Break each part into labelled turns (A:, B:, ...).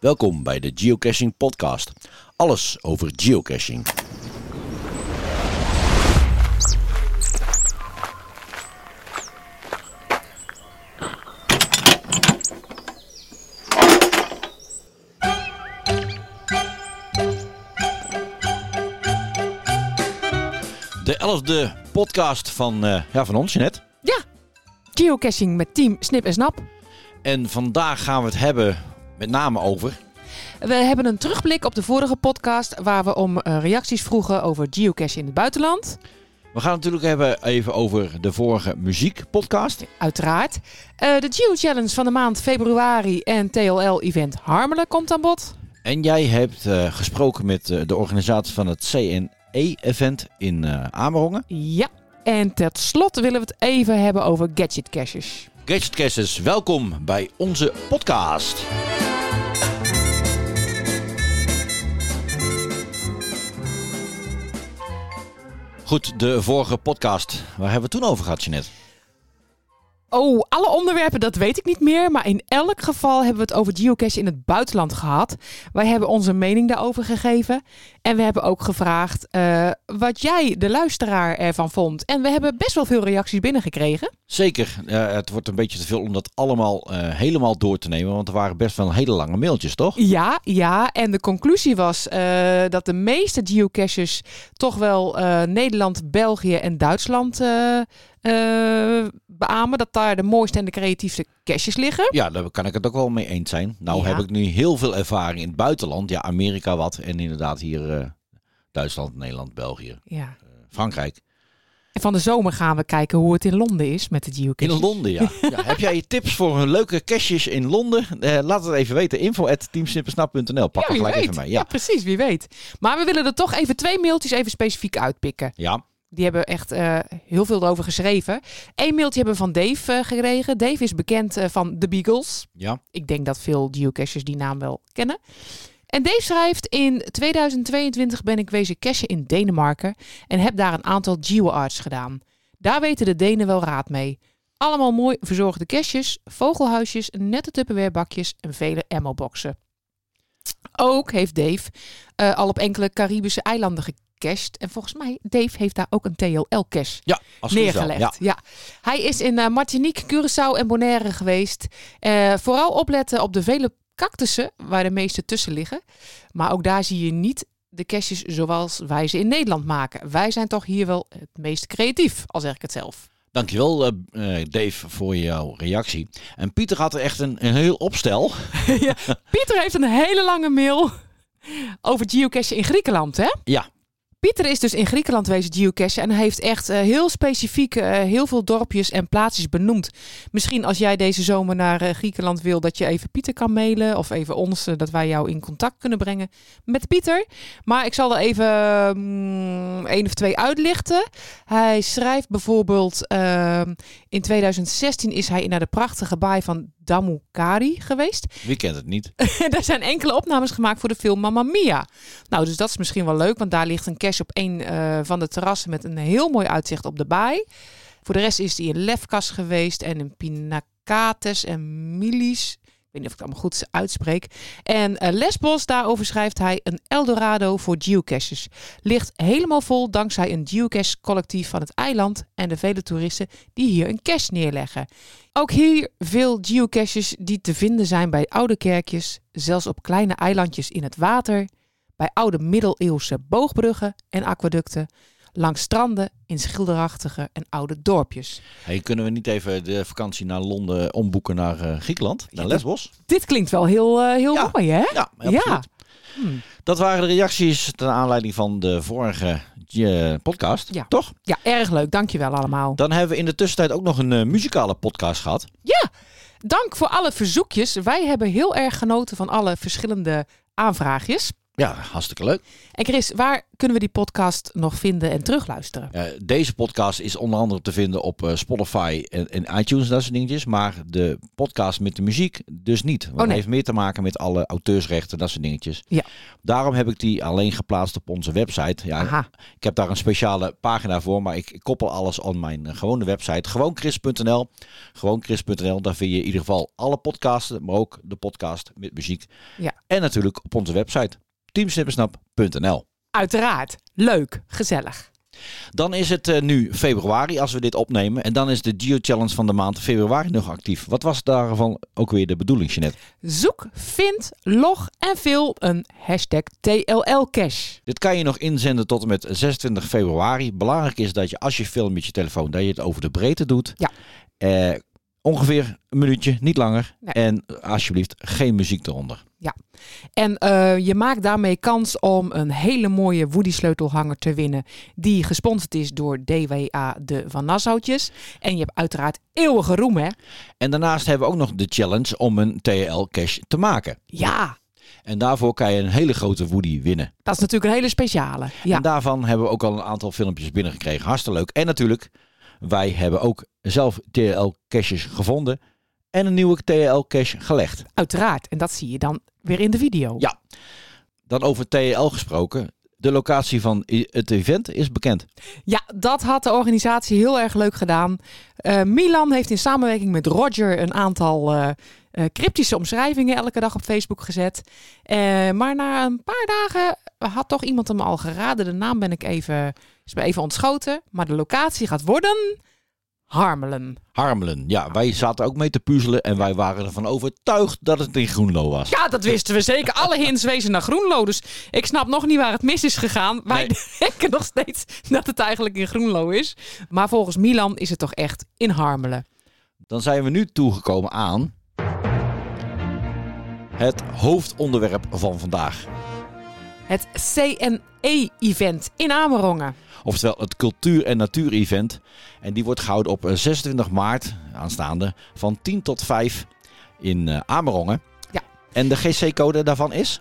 A: Welkom bij de Geocaching Podcast. Alles over geocaching. De elfde podcast van, eh, ja, van ons, net.
B: Ja, geocaching met team Snip en Snap.
A: En vandaag gaan we het hebben met name over.
B: We hebben een terugblik op de vorige podcast waar we om eh, reacties vroegen over geocache in het buitenland.
A: We gaan het natuurlijk hebben even over de vorige muziekpodcast.
B: Uiteraard. Eh, de Geo Challenge van de maand februari en TLL-event Harmelen komt aan bod.
A: En jij hebt eh, gesproken met eh, de organisatie van het CNE-event in eh Amerongen.
B: Ja. En tot slot willen we het even hebben over gadget caches.
A: Gadgetcasters, welkom bij onze podcast. Goed, de vorige podcast. Waar hebben we het toen over gehad, Jeanette?
B: Oh, alle onderwerpen, dat weet ik niet meer. Maar in elk geval hebben we het over geocache in het buitenland gehad. Wij hebben onze mening daarover gegeven. En we hebben ook gevraagd eh, wat jij, de luisteraar, ervan vond. En we hebben best wel veel reacties binnengekregen.
A: Zeker, eh, het wordt een beetje te veel om dat allemaal eh, helemaal door te nemen. Want er waren best wel hele lange mailtjes, toch?
B: Ja, ja. En de conclusie was eh, dat de meeste geocaches toch wel eh, Nederland, België en Duitsland eh, eh, beamen. Dat daar de mooiste en de creatiefste caches liggen.
A: Ja, daar kan ik het ook wel mee eens zijn. Nou
B: Ja.
A: heb ik nu heel veel ervaring in het buitenland. Ja, Amerika wat. En inderdaad hier eh, Duitsland, Nederland, België,
B: Ja.
A: Frankrijk.
B: En van de zomer gaan we kijken hoe het in Londen is met de geocaches.
A: In Londen, ja. ja heb jij tips voor leuke caches in Londen? Eh, laat het even weten. Info at teamsnippersnap.nl. Pak
B: Ja,
A: er
B: wie
A: gelijk
B: weet.
A: even mee.
B: Ja,
A: Ja.
B: precies, wie weet. Maar we willen er toch even twee mailtjes even specifiek uitpikken.
A: ja.
B: Die hebben echt eh, heel veel over geschreven. Eén mailtje hebben we van Dave eh, gekregen. Dave is bekend eh, van The Beagles.
A: Ja.
B: Ik denk dat veel geocachers die naam wel kennen. En Dave schrijft, in 2022 ben ik wezen cachen in Denemarken en heb daar een aantal geoarts gedaan. Daar weten de Denen wel raad mee. Allemaal mooi verzorgde caches, vogelhuisjes, nette tupperwarebakjes en vele ammo-boxen. Ook heeft Dave eh, al op enkele Caribische eilanden gecached. En volgens mij, Dave heeft daar ook een TL-cache
A: Ja, als het goed is wel.
B: neergelegd.
A: Ja.
B: Ja. Hij is in eh, Martinique, Curaçao en Bonaire geweest. Eh, vooral opletten op de vele cactussen waar de meeste tussen liggen. Maar ook daar zie je niet de caches zoals wij ze in Nederland maken. Wij zijn toch hier wel het meest creatief, al zeg ik het zelf.
A: Dankjewel eh, eh, Dave voor jouw reactie. En Pieter had er echt een, een heel opstel.
B: Pieter heeft een hele lange mail over geocachen in Griekenland, hè?
A: Ja.
B: Pieter is dus in Griekenland wezen geocachen en hij heeft echt eh, heel specifiek eh, heel veel dorpjes en plaatsjes benoemd. Misschien als jij deze zomer naar eh, Griekenland wil, dat je even Pieter kan mailen of even ons, eh, dat wij jou in contact kunnen brengen met Pieter. Maar ik zal er even mm, één of twee uitlichten. Hij schrijft bijvoorbeeld, ehm, in 2016 is hij naar de prachtige baai van Damukari geweest.
A: Wie kent het niet?
B: En daar zijn enkele opnames gemaakt voor de film Mamma Mia. Nou, dus dat is misschien wel leuk, want daar ligt een cache op een eh, van de terrassen met een heel mooi uitzicht op de baai. Voor de rest is hij in Lefkas geweest en in Pinakates en Milis. Ik weet niet of ik het allemaal goed uitspreek. En eh, Lesbos, daarover schrijft hij een Eldorado voor geocaches. Ligt helemaal vol dankzij een geocache collectief van het eiland en de vele toeristen die hier een cache neerleggen. Ook hier veel geocaches die te vinden zijn bij oude kerkjes, zelfs op kleine eilandjes in het water, bij oude middeleeuwse boogbruggen en aquaducten, langs stranden in schilderachtige en oude dorpjes.
A: Hey, kunnen we niet even de vakantie naar Londen omboeken naar eh, Griekenland? Naar
B: Ja, dat-
A: Lesbos?
B: Dit klinkt wel heel, eh, heel
A: Ja.
B: mooi, hè?
A: Ja, absoluut.
B: ja. Hmm.
A: Dat waren de reacties ten aanleiding van de vorige eh, podcast,
B: Ja.
A: toch?
B: ja, erg leuk. Dankjewel allemaal.
A: Dan hebben we in de tussentijd ook nog een eh, muzikale podcast gehad.
B: Ja, dank voor alle verzoekjes. Wij hebben heel erg genoten van alle verschillende aanvraagjes.
A: Ja, hartstikke leuk.
B: En Chris, waar kunnen we die podcast nog vinden en terugluisteren?
A: Eh, deze podcast is onder andere te vinden op eh, Spotify en, en iTunes en dat soort dingetjes. Maar de podcast met de muziek dus niet. Want
B: Oh, nee.
A: dat heeft meer te maken met alle auteursrechten en dat soort dingetjes.
B: Ja.
A: Daarom heb ik die alleen geplaatst op onze website. Ja,
B: Aha.
A: Ik heb daar een speciale pagina voor, maar ik ik koppel alles aan mijn eh, gewone website. Gewoonchris.nl. Gewoonchris.nl, daar vind je in ieder geval alle podcasten, maar ook de podcast met muziek.
B: Ja.
A: En natuurlijk op onze website teamsnippersnap.nl.
B: Uiteraard. Leuk. Gezellig.
A: Dan is het eh, nu februari als we dit opnemen. En dan is de Geo Challenge van de maand februari nog actief. Wat was daarvan ook weer de bedoeling, Jeanette?
B: Zoek, vind, log en veel een hashtag TLLcash.
A: Dit kan je nog inzenden tot en met 26 februari. Belangrijk is dat je als je filmt met je telefoon, dat je het over de breedte doet.
B: Ja.
A: Eh, ongeveer een minuutje, niet langer.
B: Nee.
A: En alsjeblieft geen muziek eronder.
B: En eh, je maakt daarmee kans om een hele mooie Woody sleutelhanger te winnen. Die gesponsord is door DWA de Van Nassautjes. En je hebt uiteraard eeuwige roem hè?
A: En daarnaast hebben we ook nog de challenge om een TL cash te maken.
B: Ja.
A: En daarvoor kan je een hele grote Woody winnen.
B: Dat is natuurlijk een hele speciale. Ja.
A: En daarvan hebben we ook al een aantal filmpjes binnengekregen. Hartstikke leuk. En natuurlijk, wij hebben ook zelf TL-caches gevonden. En een nieuwe TL-cache gelegd.
B: Uiteraard. En dat zie je dan weer in de video.
A: Ja. Dan over TL gesproken. De locatie van i- het event is bekend.
B: Ja, dat had de organisatie heel erg leuk gedaan. Eh, Milan heeft in samenwerking met Roger een aantal eh, eh, cryptische omschrijvingen elke dag op Facebook gezet. Eh, maar na een paar dagen had toch iemand hem al geraden. De naam ben ik even, is me even ontschoten. Maar de locatie gaat worden Harmelen.
A: Harmelen. Ja, wij zaten ook mee te puzzelen. En wij waren ervan overtuigd dat het in Groenlo was.
B: Ja, dat wisten we zeker. Alle hints wezen naar Groenlo. Dus ik snap nog niet waar het mis is gegaan. Wij
A: Nee.
B: denken nog steeds dat het eigenlijk in Groenlo is. Maar volgens Milan is het toch echt in Harmelen.
A: Dan zijn we nu toegekomen aan. Het hoofdonderwerp van vandaag.
B: Het CNE-event in Amerongen.
A: Oftewel het cultuur- en natuur-event. En die wordt gehouden op eh, 26 maart aanstaande van 10 tot 5 in eh, Amerongen.
B: Ja.
A: En de GC-code daarvan is?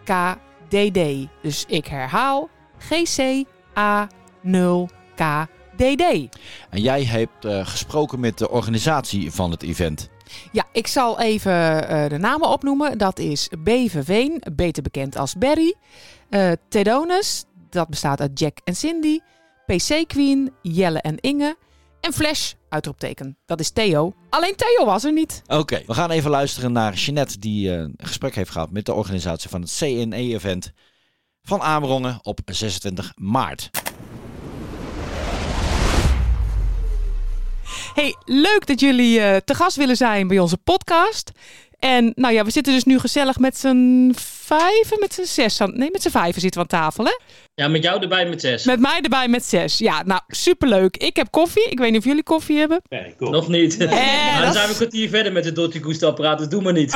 B: GCA0KDD. Dus ik herhaal. GCA0KDD.
A: En jij hebt eh, gesproken met de organisatie van het event.
B: Ja, ik zal even eh, de namen opnoemen. Dat is Beverveen, beter bekend als Berry. Eh Tedonis, dat bestaat uit Jack en Cindy. PC Queen, Jelle en Inge. En Flash, uitroepteken. Dat is Theo. Alleen Theo was er niet.
A: Oké, we gaan even luisteren naar Jeanette die eh, een gesprek heeft gehad met de organisatie van het CNE-event van Amerongen op 26 maart.
B: Hey, leuk dat jullie eh, te gast willen zijn bij onze podcast. En nou ja, we zitten dus nu gezellig met z'n vijven, met z'n zes. aan- Nee, met z'n vijven zitten we aan tafel, hè?
C: Ja, met jou erbij met zes.
B: Met mij erbij met zes. Ja, nou, superleuk. Ik heb koffie. Ik weet niet of jullie koffie hebben.
D: Nee, cool.
C: Nog niet.
B: Eh,
C: Maar
B: dat
C: dan
B: is- Oh.
C: zijn we een kwartier verder met het Dolce Gusto apparaat. Dat doen we niet.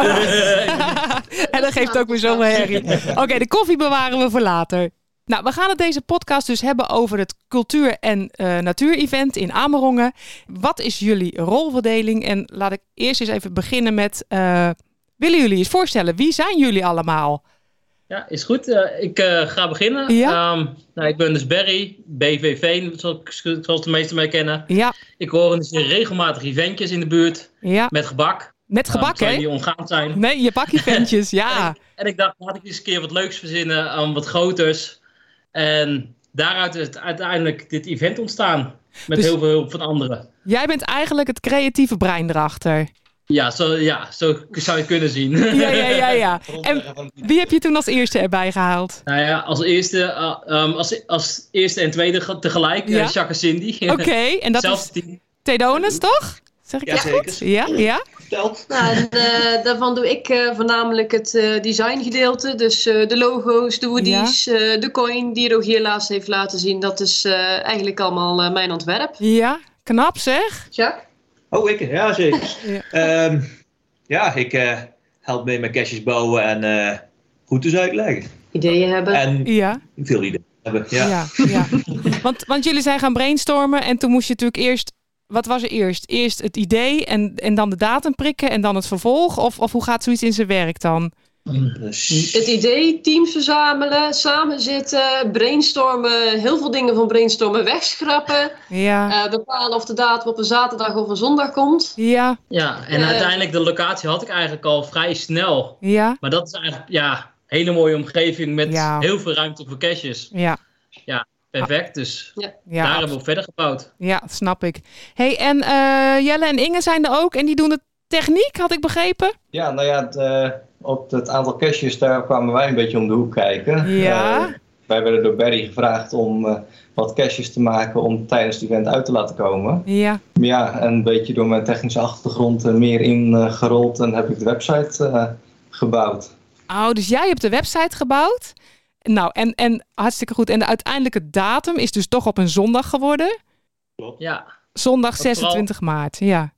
B: en dat geeft ook weer zo'n herrie. Oké, de koffie bewaren we voor later. Nou, we gaan het deze podcast dus hebben over het cultuur- en eh natuur-event in Amerongen. Wat is jullie rolverdeling? En laat ik eerst eens even beginnen met... eh, willen jullie eens voorstellen? Wie zijn jullie allemaal?
C: ja, is goed. Eh, ik eh, ga beginnen.
B: Ja.
C: Ehm, nou, ik ben dus Barry, BVV, zoals, ik- zoals de meesten mij kennen.
B: Ja,
C: Ik organiseer regelmatig eventjes in de buurt
B: ja.
C: met gebak.
B: Met gebak,
C: Ehm, terwijl
B: hè?
C: die ongaand zijn.
B: Nee, je bakkieventjes, ja.
C: En ik dacht, laat ik eens een keer wat leuks verzinnen aan wat groters. En daaruit is het uiteindelijk dit event ontstaan. Met
B: Dus-
C: heel veel hulp van anderen.
B: Jij bent eigenlijk het creatieve brein erachter.
C: Ja, zo, ja, zo zou je kunnen zien.
B: Ja, ja, ja, ja. En wie heb je toen als eerste erbij gehaald?
C: Nou ja, als eerste, eh, ehm, als, als eerste en tweede ge- tegelijk,
B: Ja.
C: eh Jacques en Cindy.
B: Oké, en dat
C: Zelfs
B: is
C: team.
B: Tedonis, toch? Zeg ik dat
D: Jazeker.
B: goed? Ja, ja.
D: Telt.
E: Nou, de- daarvan doe ik eh, voornamelijk het eh designgedeelte. Dus eh, de logo's, de woodies, eh, de coin die Rogier laatst heeft laten zien. Dat is eh, eigenlijk allemaal eh, mijn ontwerp.
B: Ja, knap zeg.
E: Jacques?
D: Oh, ik? Ja, zeker.
B: Ja.
D: Ehm, ja, ik eh, help mee met caches bouwen en eh routes uitleggen.
E: Ideeën hebben.
D: En
B: Ja,
D: veel ideeën hebben. Ja.
B: ja. Eh, ja, Want, want jullie zijn gaan brainstormen en toen moest je natuurlijk eerst... Wat was er eerst? Eerst het idee en, en dan de datum prikken en dan het vervolg? Of, of hoe gaat zoiets in zijn werk dan?
D: Dus,
E: Het idee, teams verzamelen, samen zitten, brainstormen, heel veel dingen van brainstormen wegschrappen.
B: Ja.
E: eh, bepalen of de datum op een zaterdag of een zondag komt.
B: Ja.
C: Ja, en
E: Ja.
C: uiteindelijk de locatie had ik eigenlijk al vrij snel.
B: Ja.
C: Maar dat is eigenlijk, ja, een hele mooie omgeving met
B: Ja.
C: heel veel ruimte voor caches.
B: Ja.
C: Perfect, dus daar
B: Ja.
C: hebben we op verder gebouwd.
B: Ja, dat snap ik. hey, en eh, Jelle en Inge zijn er ook en die doen de techniek, had ik begrepen.
F: Ja, nou ja, het, eh, op het aantal kerstjes daar kwamen wij een beetje om de hoek kijken.
B: Ja.
F: Eh, wij werden door Barry gevraagd om eh, wat kerstjes te maken om tijdens het event uit te laten komen.
B: Ja.
F: Maar ja, een beetje door mijn technische achtergrond er meer ingerold en heb ik de website eh, gebouwd.
B: Oh, dus jij hebt de website gebouwd. Nou, en, en hartstikke goed. En de uiteindelijke datum is dus toch op een zondag geworden.
C: Ja,
B: Zondag
C: vooral-
B: 26 maart. Ja.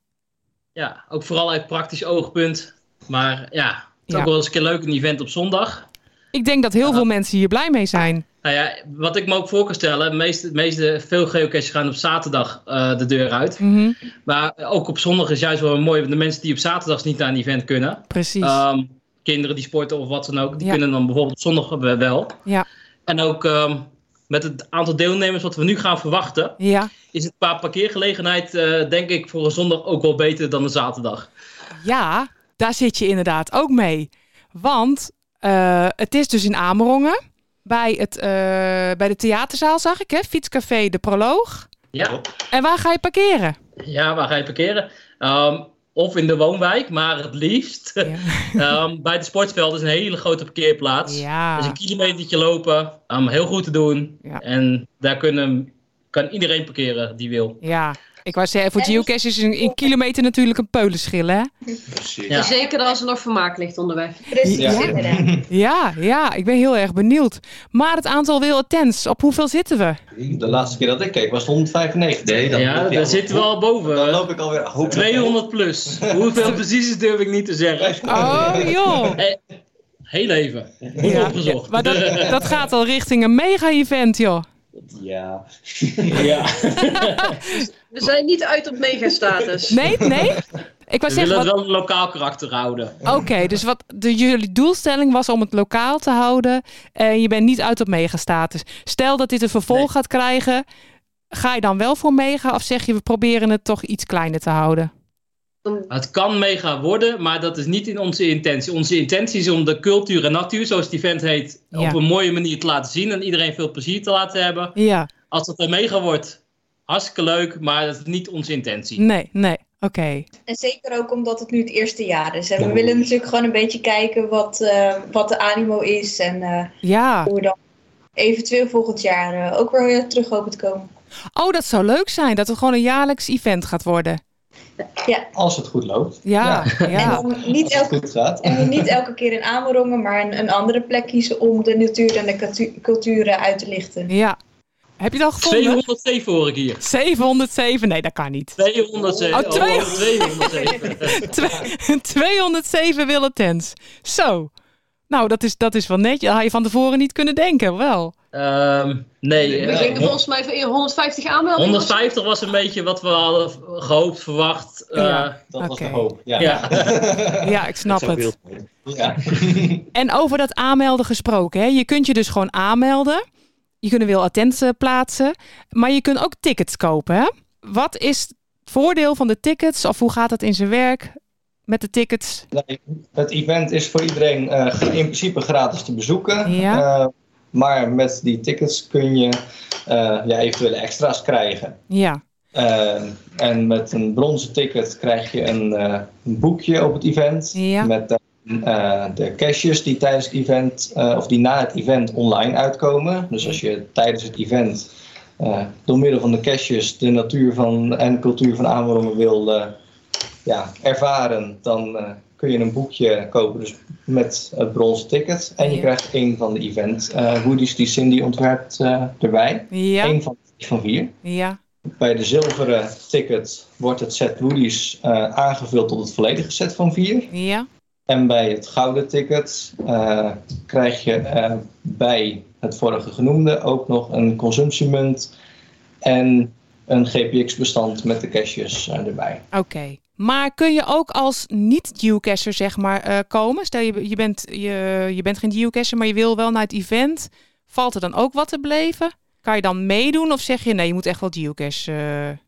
C: ja, ook vooral uit praktisch oogpunt. Maar ja, het is
B: Ja.
C: ook wel eens een keer leuk, een event op zondag.
B: Ik denk dat heel veel mensen hier blij mee zijn.
C: Nou ja, wat ik me ook voor kan stellen, de meeste, de meeste, veel geocaches gaan op zaterdag eh, de deur uit.
B: Mhm,
C: Maar ook op zondag is juist wel mooi, want de mensen die op zaterdags niet naar een event kunnen,
B: Precies.
C: ehm, kinderen die sporten of wat dan ook, die
B: Ja.
C: kunnen dan bijvoorbeeld op zondag we- wel.
B: Ja.
C: En ook ehm, met het aantal deelnemers wat we nu gaan verwachten,
B: ja.
C: is het qua parkeergelegenheid eh, denk ik voor een zondag ook wel beter dan een zaterdag.
B: Ja, daar zit je inderdaad ook mee. Want eh, het is dus in Amerongen. Bij, het, eh, bij de theaterzaal zag ik, hè? Fietscafé De Proloog.
C: Ja,
B: En waar ga je parkeren?
C: ja waar ga je parkeren? Ehm, of in de woonwijk, maar het liefst
B: Ja.
C: ehm, bij het sportveld is een hele grote parkeerplaats. Dus
B: ja.
C: een kilometertje lopen, um, heel goed te doen.
B: Ja.
C: En daar kunnen, kan iedereen parkeren die wil.
B: Ja, ik wou zeggen, voor geocaches is een, een kilometer natuurlijk een peulenschil, hè?
F: Precies.
C: Ja.
E: Zeker als er nog vermaak ligt onderweg.
G: Precies,
F: Ja.
G: inderdaad.
B: Ja, ja, ik ben heel erg benieuwd. Maar het aantal wil attends, op hoeveel zitten we?
F: De laatste keer dat ik keek was het 195.
D: nee, dat,
C: ja, daar zitten we al
F: Dan
C: boven.
F: loop ik alweer hoog.
C: 200 plus. Hoeveel precies is durf ik niet te zeggen.
B: Oh, joh.
C: Heel even. Goed
B: Ja,
C: opgezocht.
B: maar dat, dat gaat al richting een mega-event, joh.
F: Ja.
C: ja.
E: We zijn niet uit op megastatus.
B: Nee, nee? Ik wou
C: We willen
B: zeggen,
C: het
B: wat-
C: wel een lokaal karakter houden.
B: oké, dus wat de, jullie doelstelling was om het lokaal te houden. En je bent niet uit op mega-status. Stel dat dit een vervolg
C: Nee.
B: gaat krijgen, ga je dan wel voor mega? Of zeg je, we proberen het toch iets kleiner te houden?
C: Het kan mega worden, maar dat is niet in onze intentie. Onze intentie is om de cultuur en natuur, zoals het event heet,
B: Ja.
C: op een mooie manier te laten zien. En iedereen veel plezier te laten hebben.
B: Ja.
C: Als dat een mega wordt, hartstikke leuk, maar dat is niet onze intentie.
B: Nee, nee. Oké.
G: En zeker ook omdat het nu het eerste jaar is. En we willen natuurlijk gewoon een beetje kijken wat, eh, wat de animo is. En eh,
B: Ja.
G: hoe we dan eventueel volgend jaar eh, ook weer weer terug hopen te komen.
B: Oh, dat zou leuk zijn. Dat het gewoon een jaarlijks event gaat worden.
F: Als het goed loopt.
B: Ja, ja.
G: En dan niet
F: Als het
G: elke
F: goed gaat.
G: En niet elke keer in Amerongen, maar een, een andere plek kiezen om de natuur en de cultu- culturen uit te lichten.
B: Ja. Heb je het al gevonden?
C: 207 hoor ik hier.
B: 707? Nee, dat kan niet.
C: 207.
B: Oh, twee-
C: 207.
B: Twee- 207 willen tens. Zo. Nou, dat is, dat is wel netjes. Dat had je van tevoren niet kunnen denken, wel.
C: Ehm, nee,
F: Nee,
E: We
C: eh,
E: gingen volgens mij voor 150 aanmeldingen.
C: 150 was een beetje wat we hadden gehoopt, verwacht. eh,
B: Ja.
F: Dat was de
B: Oké.
F: hoop. Ja.
C: ja.
B: Ja, ik snap
D: zou
B: het.
D: heel mooi.
F: Ja.
B: En over dat aanmelden gesproken. Hè? Je kunt je dus gewoon aanmelden. Je kunt er wel attent eh, plaatsen. Maar je kunt ook tickets kopen. Hè? Wat is het voordeel van de tickets? Of hoe gaat dat in zijn werk met de tickets?
F: Nee, het event is voor iedereen eh, gra- in principe gratis te bezoeken.
B: Ja.
F: Eh, maar met die tickets kun je eh, ja, eventuele extra's krijgen.
B: Ja,
F: Eh, en met een bronzen ticket krijg je een, eh, een boekje op het event.
B: Ja.
F: Met daarin, eh, de caches die tijdens het event, eh, of die na het event online uitkomen. Dus als je tijdens het event eh, door middel van de caches de natuur van, en cultuur van Amerongen wil eh, ja, ervaren, dan eh, kun je een boekje kopen dus met het bronzen ticket. En je
B: Ja.
F: krijgt één van de event eh, hoodies die Cindy ontwerpt eh, erbij.
B: ja,
F: Eén van, van vier.
B: ja.
F: Bij de zilveren ticket wordt het set Woody's eh, aangevuld tot het volledige set van 4.
B: Ja,
F: En bij het gouden ticket eh, krijg je eh, bij het vorige genoemde ook nog een consumptiemunt en een GPX-bestand met de caches eh, erbij.
B: oké. Maar kun je ook als niet-geocacher zeg maar, eh, komen? Stel je, je, bent, je, je bent geen geocacher, maar je wil wel naar het event. Valt er dan ook wat te beleven? Kan je dan meedoen of zeg je nee, je moet echt wel geocache, eh,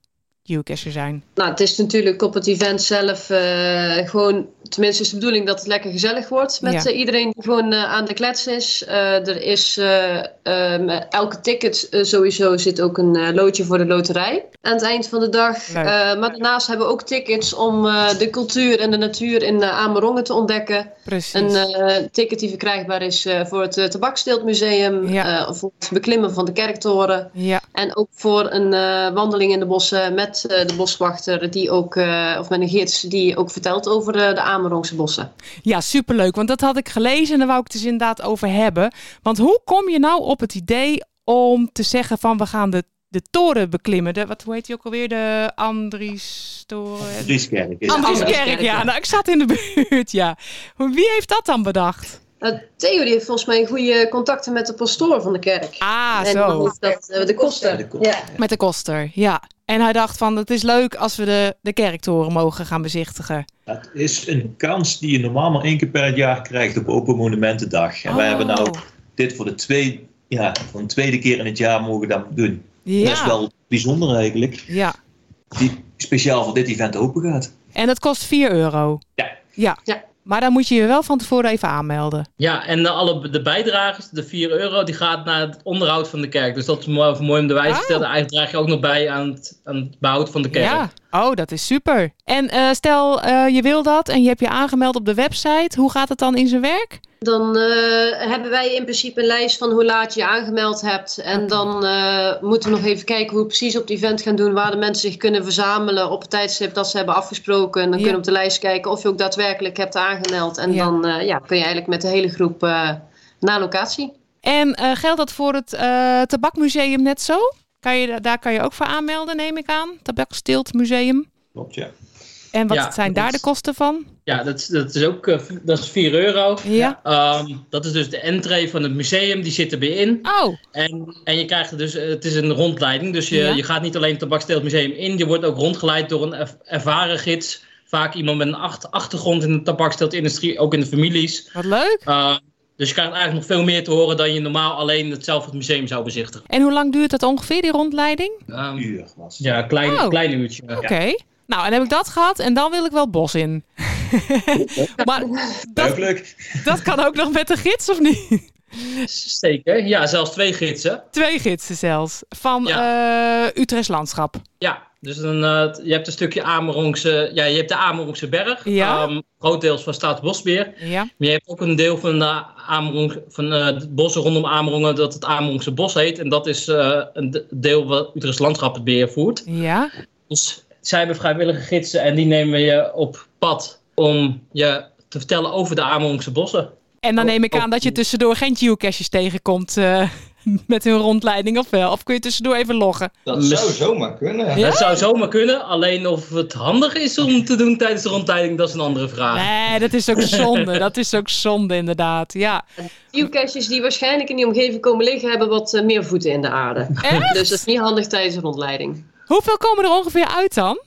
B: geocacher zijn?
E: Nou, het is natuurlijk op het event zelf eh, gewoon, tenminste is de bedoeling dat het lekker gezellig wordt met
B: Ja.
E: eh, iedereen die gewoon eh, aan de klets is. Eh, er is eh, eh, met elke ticket eh, sowieso zit ook een eh, loodje voor de loterij aan het eind van de dag.
B: Leuk.
E: Eh, maar daarnaast hebben we ook tickets om eh, de cultuur en de natuur in eh Amerongen te ontdekken.
B: Precies.
E: Een eh, ticket die verkrijgbaar is eh, voor het eh, Tabakssteeltmuseum,
B: Ja.
E: eh, voor het beklimmen van de kerktoren.
B: ja,
E: En ook voor een eh, wandeling in de bossen met eh, de boswachter, die ook, eh, of met een gids, die ook vertelt over eh, de Amerongse bossen.
B: ja, superleuk. Want dat had ik gelezen en daar wou ik het dus inderdaad over hebben. Want hoe kom je nou op het idee om te zeggen van we gaan de, de toren beklimmen? De, wat hoe heet die ook alweer? De Andries-toren?
D: Drieskerk is het.
B: Andries
E: Andries
B: Kerk,
E: Kerk,
B: ja.
E: ja.
B: Nou, ik zat in de buurt, ja. Maar Wie heeft dat dan bedacht?
E: Eh, Theo die heeft volgens mij goede contacten met de pastoor van de kerk.
B: Ah,
E: en dan
B: zo.
E: is dat eh, de kosten.
D: De kop.
G: Ja.
B: Met de koster, ja. En hij dacht van, het is leuk als we de, de kerktoren mogen gaan bezichtigen.
D: Dat is een kans die je normaal maar één keer per jaar krijgt op Open Monumentendag. En wij hebben nou
B: Oh,
D: dit voor de, twee, ja, voor de tweede keer in het jaar mogen we dat doen. Dat is
B: Ja,
D: wel bijzonder eigenlijk,
B: ja.
D: die speciaal voor dit event open gaat.
B: En dat kost 4 euro.
D: Ja.
B: ja.
E: Ja.
B: Maar dan moet je je wel van tevoren even aanmelden.
C: Ja, en eh, alle de bijdragers, de 4 euro, die gaat naar het onderhoud van de kerk. Dus dat is mooi, mooi om de
B: Oh.
C: wijze te stellen. Eigenlijk draag je ook nog bij aan het, aan het behoud van de kerk.
B: Ja. Oh, dat is super. En eh, stel, eh, je wil dat en je hebt je aangemeld op de website. Hoe gaat het dan in zijn werk?
E: Dan eh, hebben wij in principe een lijst van hoe laat je je aangemeld hebt. En dan eh, moeten we nog even kijken hoe we precies op het event gaan doen. Waar de mensen zich kunnen verzamelen op het tijdstip dat ze hebben afgesproken. En dan
B: Ja.
E: kunnen we op de lijst kijken of je ook daadwerkelijk hebt aangemeld. En
B: Ja.
E: dan eh, ja, kun je eigenlijk met de hele groep eh, naar locatie.
B: En eh, geldt dat voor het eh, tabakmuseum net zo? Kan je, da- daar kan je ook voor aanmelden, neem ik aan. Tabaksteeltmuseum.
F: Klopt, ja.
B: En wat
C: Ja,
B: zijn
C: dat
B: daar de
C: is-
B: kosten van?
C: Ja, dat, is- dat is ook eh, v- dat is 4 euro.
B: Ja.
C: Ehm, dat is dus de entree van het museum, die zit erbij in.
B: Oh,
C: En, en je krijgt dus, eh, het is een rondleiding, dus je,
B: Ja.
C: je gaat niet alleen het tabaksteeltmuseum in, je wordt ook rondgeleid door een erv- ervaren gids. Vaak iemand met een acht- achtergrond in de tabaksteeltindustrie, ook in de families.
B: wat leuk.
C: Uh, dus je krijgt eigenlijk nog veel meer te horen dan je normaal alleen het zelf het museum zou bezichtigen.
B: En hoe lang duurt dat ongeveer, die rondleiding?
C: Ehm,
D: Uur was het.
C: ja, een klein,
B: Oh.
C: klein uurtje. eh,
B: Oké. Nou, en heb ik dat gehad en dan wil ik wel bos in. maar dat,
D: Leuk.
B: dat kan ook nog met de gids, of niet?
C: Zeker. Ja, zelfs twee gidsen.
B: Twee gidsen zelfs. Van eh, Utrechts Landschap.
C: Ja, dus dan, eh, t- je hebt een stukje Amerongse, ja, je hebt de Amerongse berg.
B: Ja.
C: ehm, grotendeels van Staatsbosbeheer.
B: Ja.
C: Maar je hebt ook een deel van, de Amerong, van eh het bossen rondom Amerongen dat het Amerongse bos heet. En dat is eh, een de- deel wat Utrechts Landschap het beheer voert.
B: Ja.
C: Dus zij hebben vrijwillige gidsen en die nemen je op pad om je te vertellen over de Amerongse bossen.
B: En dan neem ik aan dat je tussendoor geen geocaches tegenkomt eh, met hun rondleiding, of wel? Of kun je tussendoor even loggen?
F: Dat
C: Mis-
F: zou zomaar kunnen.
B: Ja?
C: Dat zou zomaar kunnen, alleen of het handig is om te doen tijdens de rondleiding, dat is een andere vraag.
B: Nee, dat is ook zonde. dat is ook zonde, inderdaad. Ja.
E: Geocaches die waarschijnlijk in die omgeving komen liggen, hebben wat eh, meer voeten in de aarde.
B: Echt?
E: Dus dat is niet handig tijdens een rondleiding.
B: Hoeveel komen er ongeveer uit dan?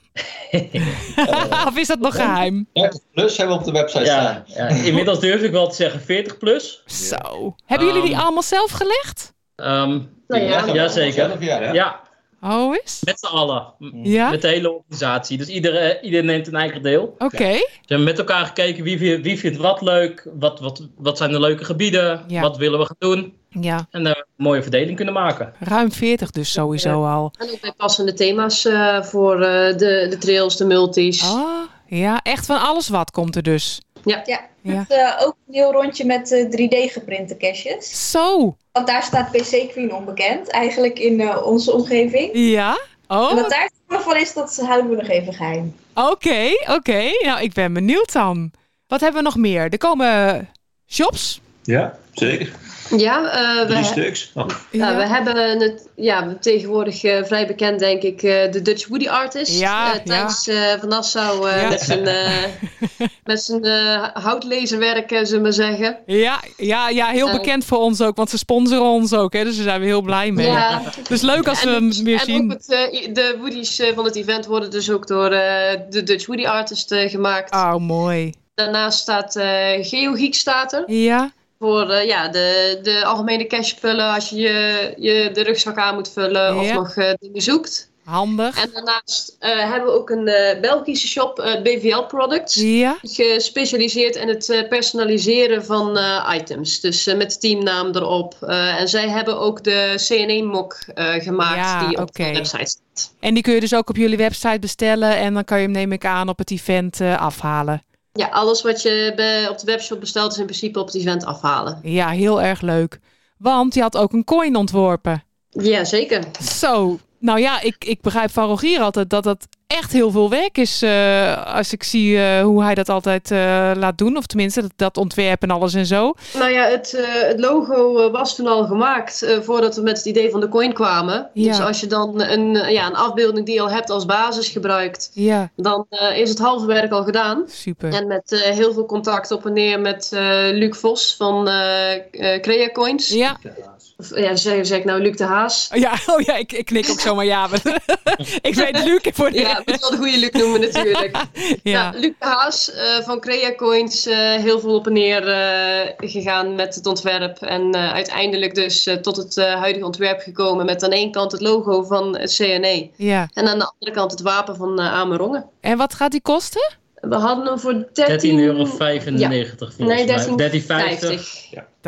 B: of is dat nog geheim?
F: 30 plus hebben we op de website staan.
C: Ja, ja, inmiddels durf ik wel te zeggen 40 plus.
B: Zo. Hebben jullie die
C: Ehm.
B: allemaal zelf gelegd?
C: Ehm,
E: Nou
F: Die leggen we allemaal
C: jazeker.
F: zelf, ja.
C: ja,
B: Oh, is?
C: met z'n allen. M-
B: Ja?
C: Met de hele organisatie. Dus iedereen, iedereen neemt een eigen deel.
B: Oké.
C: Ze hebben met elkaar gekeken wie, vi- wie vindt wat leuk, wat, wat, wat zijn de leuke gebieden,
B: Ja.
C: wat willen we gaan doen.
B: Ja.
C: En daar een mooie verdeling kunnen maken.
B: Ruim 40 dus sowieso al.
E: En ook bij passende thema's eh, voor eh, de, de trails, de multis.
B: Ah, ja. Echt van alles wat komt er dus. Ja.
G: Het, eh, ook een heel rondje met eh, 3D-geprinte caches.
B: Zo.
G: Want daar staat PC Queen onbekend, eigenlijk in eh, onze omgeving.
B: Ja.
G: En
B: Oh,
G: wat
B: oké,
G: daar van is, dat houden we nog even geheim.
B: oké. Nou, ik ben benieuwd dan. Wat hebben we nog meer? Er komen shops.
D: Ja, zeker.
E: Ja, eh, we,
D: Drie
E: he-
D: stuks. Oh,
E: ja, Nou, we hebben het ja, tegenwoordig eh, vrij bekend, denk ik, eh, de Dutch Woody Artist.
B: Ja,
E: Eh, Thijs eh, van Nassau eh,
B: Ja.
E: met zijn, eh, met zijn eh, houtlezerwerk, eh, zullen we maar zeggen.
B: Ja, ja, ja, heel
E: Eh.
B: bekend voor ons ook, want ze sponsoren ons ook, hè, dus daar zijn we heel blij mee.
E: Ja,
B: Dus leuk als we
E: en,
B: hem weer
E: en
B: zien.
E: ook het, eh, de Woody's eh, van het event worden dus ook door eh, de Dutch Woody Artist eh, gemaakt.
B: Oh, mooi.
E: Daarnaast staat eh Geo Geek staat er.
B: Ja,
E: Voor eh, ja, de, de algemene cash vullen als je, je je de rugzak aan moet vullen of
B: Ja.
E: nog eh, dingen zoekt.
B: handig.
E: En daarnaast eh, hebben we ook een eh, Belgische shop, eh, BVL Products.
B: Ja,
E: Gespecialiseerd in het eh, personaliseren van eh, items. Dus eh, met teamnaam erop. Eh, en zij hebben ook de CNE-mok eh, gemaakt
B: Ja,
E: die op
B: oké.
E: de website staat.
B: en die kun je dus ook op jullie website bestellen en dan kan je hem neem ik aan op het event eh, afhalen.
E: Ja, alles wat je bij- op de webshop bestelt is in principe op het event afhalen.
B: Ja, heel erg leuk. Want je had ook een coin ontworpen.
E: Ja, zeker.
B: Zo, nou ja, ik, ik begrijp van Rogier altijd dat dat echt heel veel werk is. eh, als ik zie eh, hoe hij dat altijd eh, laat doen, of tenminste dat, dat ontwerp en alles en zo.
E: Nou ja, het, eh, het logo eh, was toen al gemaakt eh, voordat we met het idee van de coin kwamen.
B: Ja.
E: Dus als je dan een, eh, ja, een afbeelding die je al hebt als basis gebruikt,
B: Ja,
E: dan eh, is het halve werk al gedaan.
B: super.
E: En met eh, heel veel contact op en neer met eh, Luc Vos van eh eh, CreaCoins. Ja.
B: Ja,
E: Of, ja, zeg, zeg ik nou Luc de Haas.
B: ja, oh ja ik, ik knik ook zomaar ja. maar- ik weet Luc voor de
E: Ja, ik moet wel de goede Luc noemen natuurlijk. Ja.
B: Ja,
E: Nou, Luc de Haas eh, van CreaCoins eh heel veel op en neer eh, gegaan met het ontwerp. En eh, uiteindelijk dus eh, tot het eh, huidige ontwerp gekomen met aan de ene kant het logo van het CNE.
B: ja.
E: En aan de andere kant het wapen van eh Amerongen.
B: En wat gaat die kosten?
E: We hadden hem voor 13,95
C: 13,95 euro volgens
E: Nee,
C: mij. 13,50.
E: 13,50.
B: Dat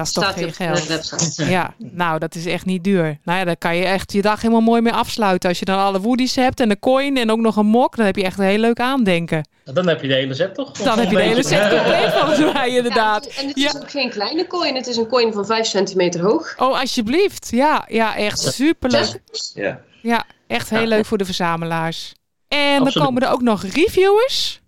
B: is toch
E: Staat hier
B: geen
E: op de
B: geld.
E: website.
B: Ja, nou, dat is echt niet duur. Nou ja, daar kan je echt je dag helemaal mooi mee afsluiten. Als je dan alle woodies hebt en de coin en ook nog een mok, dan heb je echt een heel leuk aandenken.
C: Dan heb je de hele set toch? Of
B: Dan heb je de
C: een
B: hele
C: beetje-
B: set compleet volgens mij,
E: Ja,
B: inderdaad.
E: en het is
B: Ja.
E: ook geen kleine coin. Het is een coin van 5 centimeter hoog.
B: Oh, alsjeblieft. Ja, ja echt superleuk.
D: ja.
B: Ja, echt heel leuk voor de verzamelaars. En dan
C: Absoluut.
B: komen er ook nog reviewers.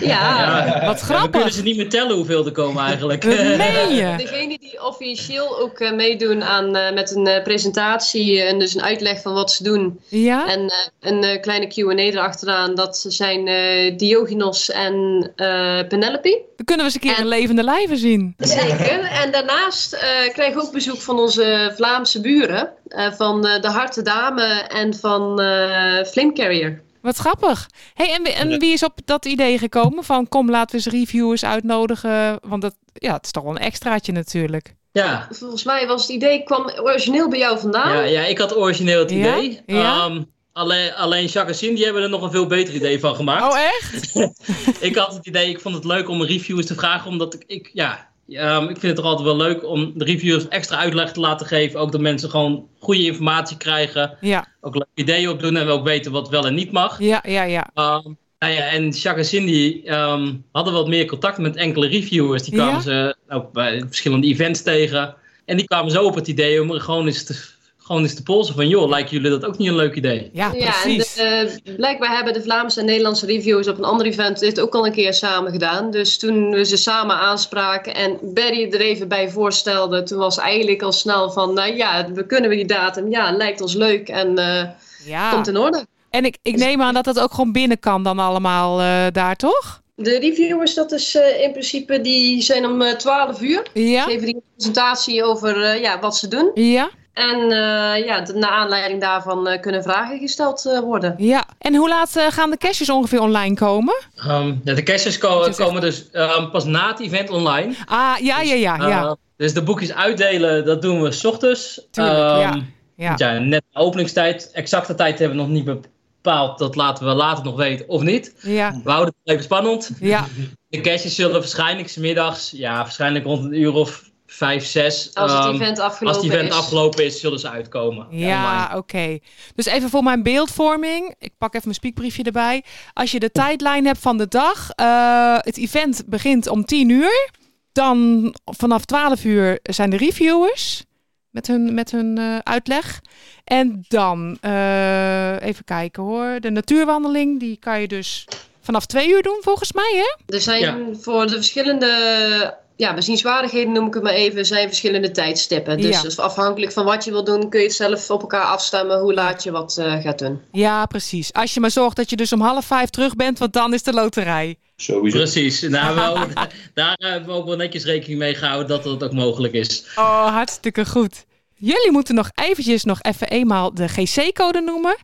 E: Ja.
C: Ja.
B: Wat
C: Ja, we kunnen
B: grappig.
C: ze niet meer tellen hoeveel er komen eigenlijk.
B: Dat meen je.
E: Eh, Degene die officieel ook eh, meedoen aan, eh, met een eh, presentatie en dus een uitleg van wat ze doen.
B: Ja?
E: En eh, een eh, kleine Q&A erachteraan. Dat zijn eh, Diogenos en eh, Penelope.
B: Dan kunnen we eens een keer een levende lijven zien.
E: Zeker. En daarnaast eh, krijgen we ook bezoek van onze Vlaamse buren. eh, van eh, de Harte Dame en van eh Flame Carrier.
B: Wat grappig. Hey, en, wie- en wie is op dat idee gekomen van kom laten we eens reviewers uitnodigen? Want dat, ja, het is toch wel een extraatje natuurlijk.
C: Ja.
E: Volgens mij was het idee, kwam origineel bij jou vandaan.
C: Ja, ja, ik had origineel het
B: Ja?
C: idee.
B: Ja?
C: Ehm, alleen, alleen Jacques en Sien, die hebben er nog een veel beter idee van gemaakt.
B: Oh echt?
C: ik had het idee, ik vond het leuk om reviewers te vragen, omdat ik, ik ja, ehm, ik vind het toch altijd wel leuk om de reviewers extra uitleg te laten geven. Ook dat mensen gewoon goede informatie krijgen,
B: Ja,
C: ook leuke ideeën opdoen en ook weten wat wel en niet mag.
B: ja, ja, ja.
C: Ehm, nou ja, en Jacques en Cindy ehm, hadden wat meer contact met enkele reviewers. Die kwamen
B: Ja?
C: ze ook bij verschillende events tegen. En die kwamen zo op het idee om er gewoon eens te, gewoon eens te polsen van... joh, lijken jullie dat ook niet een leuk idee?
B: Ja,
E: Ja, en
B: precies.
E: de, eh, blijkbaar hebben de Vlaamse en Nederlandse reviewers op een ander event dit ook al een keer samen gedaan. Dus toen we ze samen aanspraken en Barry er even bij voorstelde, toen was eigenlijk al snel van, nou ja, we kunnen we die datum? Ja, lijkt ons leuk en eh,
B: Ja.
E: komt in orde.
B: En ik, ik neem aan dat dat ook gewoon binnen kan dan allemaal eh, daar, toch?
E: De reviewers, dat is eh, in principe, die zijn om eh, 12 uur.
B: Ja,
E: Geven die een presentatie over eh, ja, wat ze doen.
B: ja,
E: En eh, ja, de- naar aanleiding daarvan eh, kunnen vragen gesteld eh, worden.
B: ja. En hoe laat eh, gaan de caches ongeveer online komen?
C: Ehm, ja, de caches ko-
B: Dat is echt-
C: komen dus ehm, pas na het event online.
B: Ah, ja, ja, ja, ja.
C: Ehm, dus de boekjes uitdelen, dat doen we s ochtends.
B: Tuurlijk,
C: Ehm,
B: ja, ja.
C: want ja, net de openingstijd. Exacte tijd hebben we nog niet bepaald. Dat laten we later nog weten, of niet.
B: Ja,
C: We houden het even spannend.
B: ja,
C: De caches zullen waarschijnlijk 's middags, ja, waarschijnlijk rond een uur of vijf, zes.
E: Als het
C: ehm,
E: event afgelopen
C: als het event
E: is.
C: afgelopen is, zullen ze uitkomen.
B: ja
C: online.
B: oké. Dus even voor mijn beeldvorming. Ik pak even mijn spiekbriefje erbij. Als je de tijdlijn hebt van de dag. eh, het event begint om 10 uur. Dan vanaf 12 uur zijn de reviewers. Met hun, met hun eh, uitleg. En dan, eh, even kijken hoor. De natuurwandeling, die kan je dus vanaf 2 uur doen volgens mij hè?
E: Er zijn
C: Ja.
E: voor de verschillende ja, bezienswaardigheden noem ik het maar even, zijn verschillende tijdstippen. Dus
B: Ja.
E: dat is afhankelijk van wat je wil doen, kun je het zelf op elkaar afstemmen hoe laat je wat eh, gaat doen.
B: Ja, precies. Als je maar zorgt dat je dus om half vijf terug bent, want dan is de loterij.
D: Sowieso.
C: Precies, daar hebben, we ook, daar hebben we ook wel netjes rekening mee gehouden dat dat ook mogelijk is.
B: Oh, hartstikke goed. Jullie moeten nog eventjes nog even eenmaal de GC-code noemen.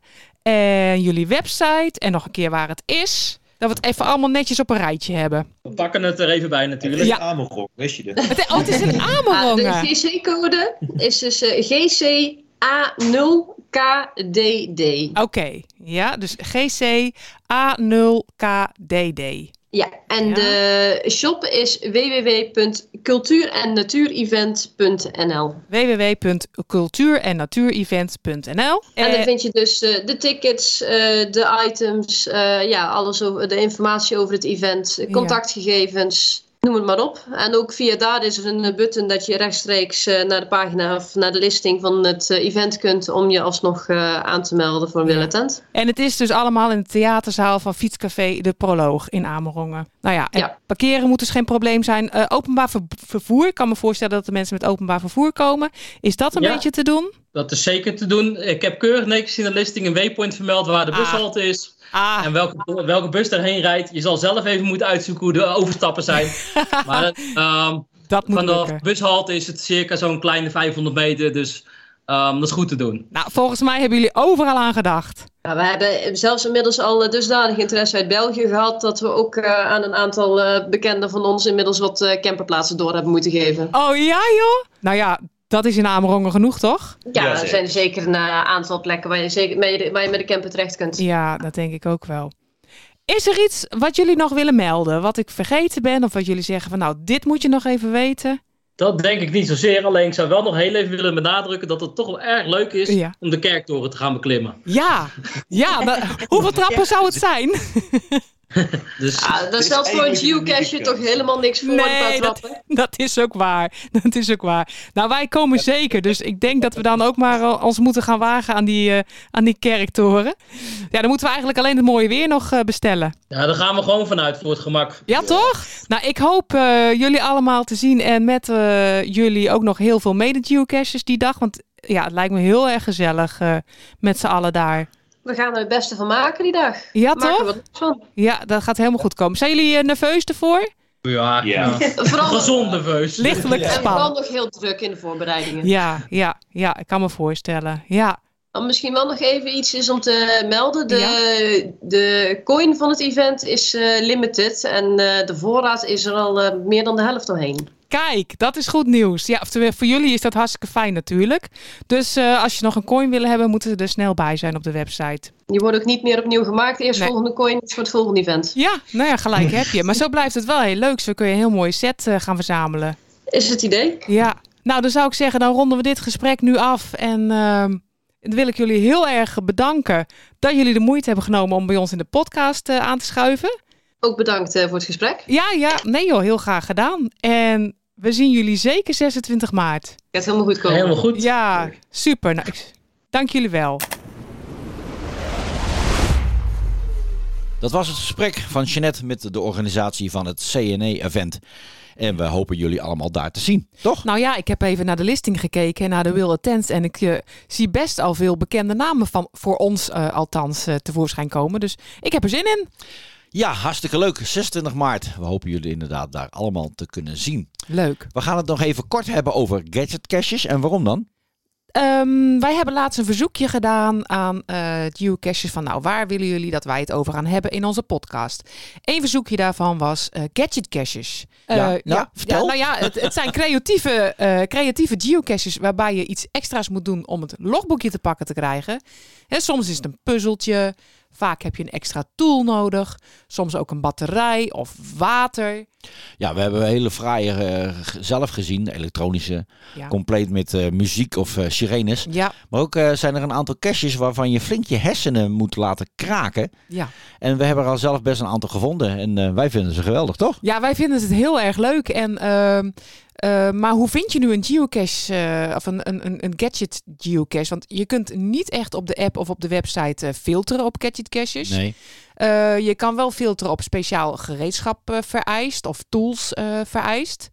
B: En jullie website en nog een keer waar het is. Dat we het even allemaal netjes op een rijtje hebben.
C: We pakken het er even bij
D: Het
C: natuurlijk.
D: is
B: Ja.
D: Amergok, wist je dat?
B: Het, oh, het is een
E: Ah, de
B: Amerongen.
E: GC-code is dus eh, GCA0KDD.
B: Oké, ja, dus GC-A0KDD.
E: Ja, en
B: Ja.
E: de shop is www.cultuurennatuurevent.nl.
B: www.cultuurennatuurevent.nl
E: En
B: Eh,
E: dan vind je dus eh, de tickets, eh, de items, eh, ja, alles over de informatie over het event, eh,
B: Ja.
E: contactgegevens, noem het maar op. En ook via daar is er een eh, button dat je rechtstreeks eh, naar de pagina of naar de listing van het eh, event kunt om je alsnog eh, aan te melden voor een
B: Ja.
E: willen tent.
B: En het is dus allemaal in de theaterzaal van Fietscafé De Proloog in Amerongen. Nou ja, en
E: Ja.
B: parkeren moet dus geen probleem zijn. Eh, openbaar ver- vervoer, ik kan me voorstellen dat de mensen met openbaar vervoer komen. Is dat een
C: Ja.
B: beetje te doen?
C: Dat is zeker te doen. Ik heb keurig netjes in de listing een waypoint vermeld waar de
B: Ah.
C: bushalte is.
B: Ah,
C: En welke, welke bus daarheen rijdt. Je zal zelf even moeten uitzoeken hoe de overstappen zijn. maar ehm,
B: dat moet
C: van de
B: lukken.
C: bushalte is het circa zo'n kleine 500 meter. Dus ehm, dat is goed te doen.
B: Nou, volgens mij hebben jullie overal aan gedacht.
E: Nou, we hebben zelfs inmiddels al eh, dusdanig interesse uit België gehad dat we ook eh, aan een aantal eh, bekenden van ons inmiddels wat eh, camperplaatsen door hebben moeten geven.
B: Oh ja, joh. Nou ja, dat is in Amerongen genoeg, toch?
E: Ja,
D: Ja,
E: er
D: zeker.
E: zijn zeker een eh, aantal plekken waar je, zeker, waar je, waar je met de camper terecht kunt.
B: Ja, dat denk ik ook wel. Is er iets wat jullie nog willen melden? Wat ik vergeten ben of wat jullie zeggen van nou, dit moet je nog even weten?
C: Dat denk ik niet zozeer. Alleen ik zou wel nog heel even willen benadrukken dat het toch wel erg leuk is
B: Ja.
C: om de kerktoren te gaan beklimmen.
B: Ja, ja. dat- hoeveel trappen zou het zijn?
C: Dus
E: Ah, daar
D: is
E: stelt voor een
D: eigenlijk een
E: geocache
D: unieke
E: toch
D: keuze.
E: helemaal niks voor.
B: Nee,
E: qua
B: dat-
E: trappen.
B: Dat is ook waar. Dat is ook waar. Nou, wij komen zeker. Dus ik denk dat we dan ook maar al- ons moeten gaan wagen aan die, eh, aan die kerktoren. Ja, dan moeten we eigenlijk alleen het mooie weer nog eh, bestellen.
C: ja, daar gaan we gewoon vanuit voor het gemak.
B: Ja, toch? Nou, ik hoop eh, jullie allemaal te zien. En met eh, jullie ook nog heel veel mede-geocaches die dag. Want ja, het lijkt me heel erg gezellig eh, met z'n allen daar.
E: We gaan er het beste van maken die dag.
B: Ja,
E: Maken
B: toch?
E: we wat van.
B: Ja, dat gaat helemaal goed komen. Zijn jullie eh, nerveus ervoor?
C: Ja,
D: Ja.
C: ja.
E: Vooral,
C: gezond nerveus.
B: Lichtelijk
E: en vooral
B: gespannen.
E: nog heel druk in de voorbereidingen.
B: Ja, ja, ja, ik kan me voorstellen. Ja,
E: Dan Misschien wel nog even iets is om te melden. De, de coin van het event is eh, limited. En eh, de voorraad is er al eh, meer dan de helft doorheen.
B: Kijk, dat is goed nieuws. Ja, oftewel, voor jullie is dat hartstikke fijn natuurlijk. Dus eh, als je nog een coin wil hebben, moeten ze er snel bij zijn op de website.
E: Die wordt ook niet meer opnieuw gemaakt. Eerst
B: Nee.
E: volgende coin is voor het volgende event.
B: Ja, nou ja, gelijk heb je. Maar zo blijft het wel heel leuk. Zo kun je een heel mooie set eh, gaan verzamelen.
E: Is het idee?
B: Ja, nou dan zou ik zeggen, dan ronden we dit gesprek nu af. En ehm, dan wil ik jullie heel erg bedanken dat jullie de moeite hebben genomen om bij ons in de podcast eh, aan te schuiven.
E: Ook bedankt eh, voor het gesprek.
B: Ja, ja, nee joh, heel graag gedaan. En we zien jullie zeker 26 maart.
E: Gaat helemaal goed komen.
C: Helemaal goed.
B: Ja, super. Nou, ik- dank jullie wel.
A: Dat was het gesprek van Jeannette met de organisatie van het CNE-event. En we hopen jullie allemaal daar te zien, toch?
B: Nou ja, ik heb even naar de listing gekeken en naar de Will Attends. En ik eh, zie best al veel bekende namen van, voor ons eh, althans eh, tevoorschijn komen. Dus ik heb er zin in.
A: Ja, hartstikke leuk. 26 maart. We hopen jullie inderdaad daar allemaal te kunnen zien.
B: Leuk.
A: We gaan het nog even kort hebben over gadget caches. En waarom dan?
B: Ehm, wij hebben laatst een verzoekje gedaan aan eh geocaches van nou, waar willen jullie dat wij het over gaan hebben in onze podcast? Eén verzoekje daarvan was eh, gadget caches. Eh,
A: Ja, nou, vertel.
B: nou ja, het, het zijn creatieve, eh, creatieve geocaches waarbij je iets extra's moet doen om het logboekje te pakken te krijgen. Hè, soms is het een puzzeltje, vaak heb je een extra tool nodig, soms ook een batterij of water.
A: Ja, we hebben hele fraaie eh, g- zelf gezien. Elektronische,
B: Ja.
A: compleet met eh, muziek of eh, sirenes.
B: Ja,
A: Maar ook eh, zijn er een aantal caches waarvan je flink je hersenen moet laten kraken.
B: ja.
A: En we hebben er al zelf best een aantal gevonden. En eh, wij vinden ze geweldig, toch?
B: Ja, wij vinden het heel erg leuk. En, ehm, eh, maar hoe vind je nu een geocache eh, of een, een, een- een gadget geocache? Want je kunt niet echt op de app of op de website eh, filteren op gadget caches.
A: Nee.
B: Eh, je kan wel filteren op speciaal gereedschap eh, vereist of tools eh, vereist.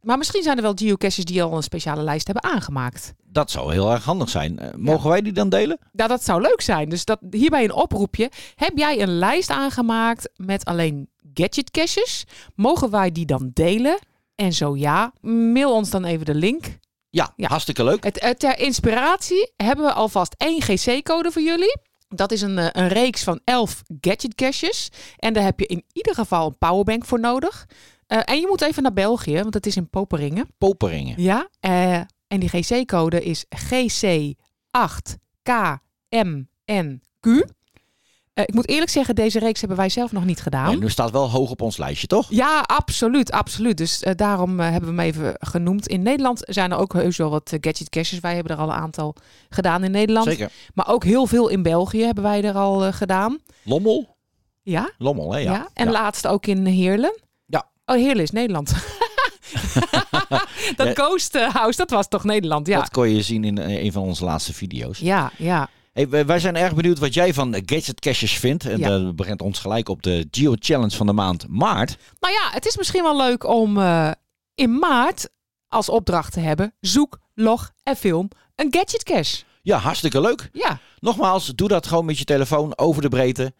B: Maar misschien zijn er wel geocaches die al een speciale lijst hebben aangemaakt.
A: Dat zou heel erg handig zijn. Eh, Mogen wij die dan delen?
B: Nou, dat zou leuk zijn. Dus dat, hierbij een oproepje. Heb jij een lijst aangemaakt met alleen gadget caches? Mogen wij die dan delen? En zo ja, mail ons dan even de link.
A: Ja,
B: Ja.
A: hartstikke leuk.
B: Het, eh, ter inspiratie hebben we alvast één GC-code voor jullie. Dat is een, eh, een reeks van 11 gadget caches. En daar heb je in ieder geval een powerbank voor nodig. Eh, en je moet even naar België, want het is in Poperingen.
A: Poperingen.
B: Ja, eh, en die GC-code is GC8KMNQ. Eh, ik moet eerlijk zeggen, deze reeks hebben wij zelf nog niet gedaan.
A: En nu staat wel hoog op ons lijstje, toch?
B: Ja, absoluut, absoluut. Dus eh, daarom eh, hebben we hem even genoemd. In Nederland zijn er ook heus wel wat eh, gadget caches. Wij hebben er al een aantal gedaan in Nederland.
A: Zeker.
B: Maar ook heel veel in België hebben wij er al eh, gedaan.
A: Lommel?
B: Ja,
A: Lommel, hè?
B: ja.
A: Ja.
B: En laatst ook in Heerlen.
A: Ja.
B: Oh, Heerlen is Nederland. dat
A: Ja.
B: Ghost eh, House, dat was toch Nederland? Ja,
A: Dat kon je zien in eh, een van onze laatste video's.
B: ja, ja.
A: Hey, wij wij zijn erg benieuwd wat jij van gadget caches vindt. En
B: Ja.
A: dat begint ons gelijk op de Geo Challenge van de maand maart.
B: Nou ja, het is misschien wel leuk om eh, in maart als opdracht te hebben... zoek, log en film een gadget cache.
A: Ja, hartstikke leuk.
B: Ja.
A: Nogmaals, doe dat gewoon met je telefoon over de breedte.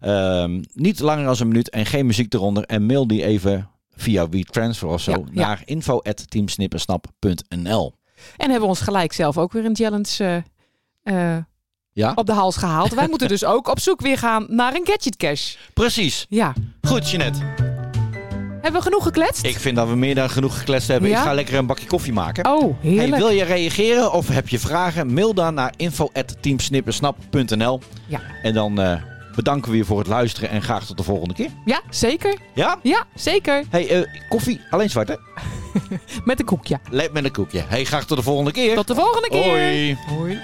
A: Ehm, niet langer dan een minuut en geen muziek eronder. En mail die even via WeTransfer of zo
B: Ja, ja.
A: naar info.teamsnippersnap.nl.
B: En hebben we ons gelijk zelf ook weer een challenge eh, eh,
A: Ja,
B: op de hals gehaald. Wij moeten dus ook op zoek weer gaan naar een gadget cache.
A: precies.
B: Ja.
A: Goed, Jeanette.
B: Hebben we genoeg gekletst?
A: Ik vind dat we meer dan genoeg gekletst hebben.
B: Ja?
A: Ik ga lekker een bakje koffie maken.
B: Oh,
A: Hey,
B: heerlijk.
A: wil je reageren of heb je vragen? Mail dan naar info.teamsnippersnap.nl
B: Ja.
A: En dan eh, bedanken we je voor het luisteren en graag tot de volgende keer.
B: Ja, zeker.
A: Ja?
B: Ja, zeker.
A: Hey, eh, koffie, alleen zwarte.
B: Met een koekje.
A: Leep met een koekje. Hey, graag tot de volgende keer.
B: Tot de volgende keer.
A: Hoi.
B: Hoi.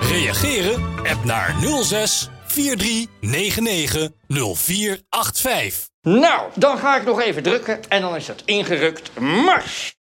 H: Reageren? App naar 06 43 99 0485.
I: Nou, dan ga ik nog even drukken en dan is dat ingerukt. Mars!